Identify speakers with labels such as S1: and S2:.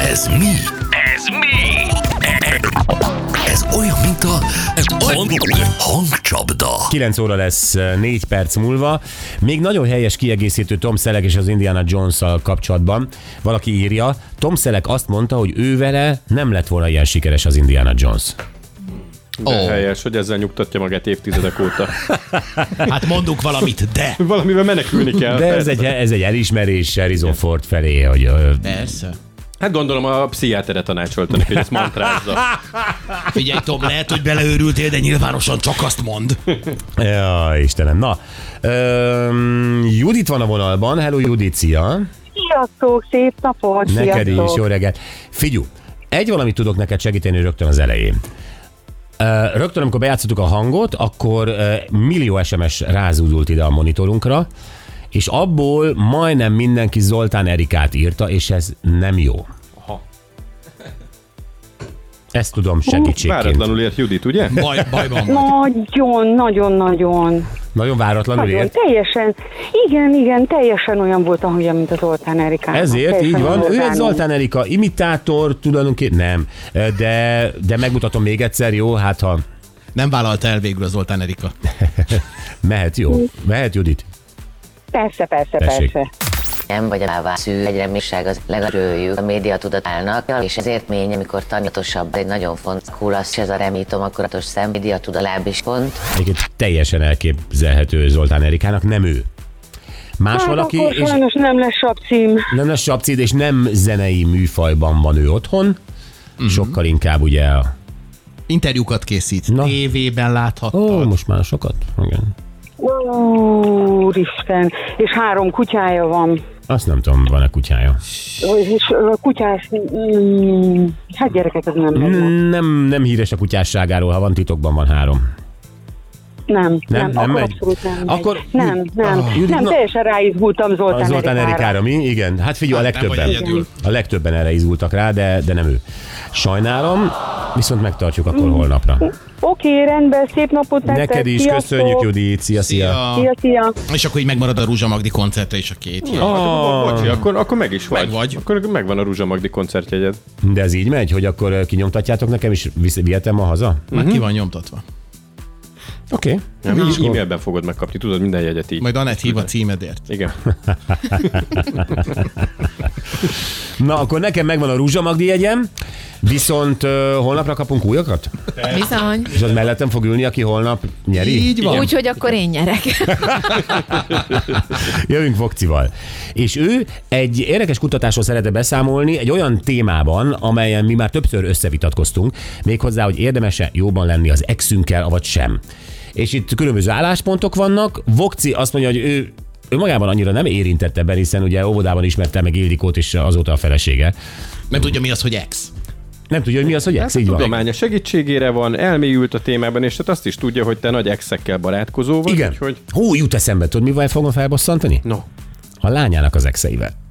S1: Ez mi?
S2: Ez mi?
S1: Ez olyan, mint a hangcsapda.
S3: 9 óra lesz 4 perc múlva. Még nagyon helyes kiegészítő Tom Selleck és az Indiana jones kapcsolatban. Valaki írja, Tom Selleck azt mondta, hogy ő vele nem lett volna ilyen sikeres az Indiana Jones.
S4: De oh. helyes, hogy ezzel nyugtatja magát évtizedek óta.
S5: Hát mondunk valamit, de.
S4: Valamivel menekülni kell.
S3: De ez
S4: persze.
S3: egy, ez egy elismerés Harrison Ford felé, hogy ö,
S5: Persze.
S4: Hát gondolom a pszichiátere tanácsolta neki, hogy ezt mantrázza.
S5: Figyelj, Tom, lehet, hogy beleőrültél, de nyilvánosan csak azt mond.
S3: Ja, Istenem. Na, öm, Judit van a vonalban. Hello, Judit, szia.
S6: Sziasztok, szép napot!
S3: Neked is,
S6: sziasztok.
S3: jó reggelt. Figyú, egy valamit tudok neked segíteni rögtön az elején. Ö, Rögtön, amikor bejátszottuk a hangot, akkor ö, millió SMS rázúdult ide a monitorunkra, és abból majdnem mindenki Zoltán Erikát írta, és ez nem jó.
S4: Aha.
S3: Ezt tudom segítségként.
S4: Váratlanul ért Judit,
S3: Ah.
S4: ugye? Hát,
S5: Baj, bajban van.
S6: Nagyon, nagyon, nagyon.
S3: Nagyon váratlanul
S6: Nagyon,
S3: ért.
S6: teljesen. Igen, igen, teljesen olyan volt a hangja, mint az Oltán Erikán.
S3: Ezért így van. Ő egy Zoltán Erika imitátor, tulajdonképpen nem. De, de megmutatom még egyszer, jó? Hát ha
S5: Nem vállalta el végül az Zoltán Erika.
S3: mehet, jó? Mehet, Judit?
S6: Persze, persze,
S3: Tessék.
S6: persze.
S7: Nem vagy rává szül egy reménység az legalább a média tudatálnak, és ezért mény, amikor tanyatosabb, egy nagyon font kulasz, ez a remítom, akaratos szem, média tudalább is font.
S3: Egyébként teljesen elképzelhető Zoltán Erikának, nem ő. Más
S6: Hát
S3: valaki,
S6: akkor
S3: és
S6: sajnos nem lesz sapcím.
S3: nem lesz sapcid, és nem zenei műfajban van ő otthon,
S5: Mhm.
S3: sokkal inkább ugye a...
S5: Interjúkat készít.
S3: Na.
S5: Na. Tévében láthattad.
S3: Ó,
S5: Oh.
S3: most már sokat? Igen.
S6: Úristen, és három kutyája van.
S3: Azt nem tudom, van-e kutyája.
S6: És a kutyás... Mm, hát gyerekek, ez nem lenne.
S3: Nem, nem híres a kutyásságáról, ha van titokban van három.
S6: Nem,
S3: Nem,
S6: nem,
S3: nem
S6: nem akkor
S3: megy?
S6: abszolút nem megy.
S3: Akkor-
S6: Nem, nem,
S3: Ah,
S6: ah,
S3: Judit,
S6: nem,
S3: na-
S6: teljesen ráizgultam
S3: A
S6: Zoltán,
S3: Zoltán
S6: Erikára.
S3: Erikára mi? Igen. Hát figyelj, a
S5: Hát nem vagy
S3: legtöbben.
S5: egyedül.
S3: A legtöbben erre izgultak rá, de, de nem ő. Sajnálom, viszont megtartjuk akkor holnapra.
S6: Oké, rendben, szép napot nektek.
S3: Neked is
S6: sziasztok.
S3: köszönjük, Judit. Szia, szia.
S5: Ja.
S6: Szia, szia.
S5: És akkor így megmarad a Rúzsa Magdi koncertre is a két jel.
S4: Ah, Bocsi, akkor, akkor meg is vagy.
S5: Meg vagy.
S4: Akkor megvan a Rúzsa Magdi koncertjegyed.
S3: De ez így megy, hogy akkor ö, kinyomtatjátok nekem, és visz- vihetem ma haza?
S5: Már ki van nyomtatva.
S3: Oké.
S4: Nem, e- e-mailben fogod megkapni, tudod minden jegyet így.
S5: Majd Anett hív a címedért.
S4: Igen.
S3: Na, akkor nekem megvan a rúzsamagdi jegyem, viszont uh, holnapra kapunk újakat?
S8: Bizony.
S3: És az mellettem fog ülni, aki holnap nyeri?
S5: Így van.
S8: Úgyhogy akkor én nyerek.
S3: Jövünk Vokcival. És ő egy érdekes kutatásról szeretne beszámolni, egy olyan témában, amelyen mi már többször összevitatkoztunk, méghozzá, hogy érdemese jóban lenni az exünkkel, avagy sem. És itt különböző álláspontok vannak. Vokci azt mondja, hogy ő ő magában annyira nem érintett ebben, hiszen ugye óvodában ismerte meg Ildikót, és azóta a felesége.
S5: Nem tudja mi az, hogy ex.
S3: Nem tudja, hogy mi az, hogy ex, így van.
S4: Tudománya segítségére van, elmélyült a témában, és hát azt is tudja, hogy te nagy exekkel barátkozó vagy.
S3: Igen.
S4: Úgyhogy...
S3: Hú, jut eszembe, tudod, mivel fogom felbosszantani?
S4: No.
S3: A lányának az exeivel.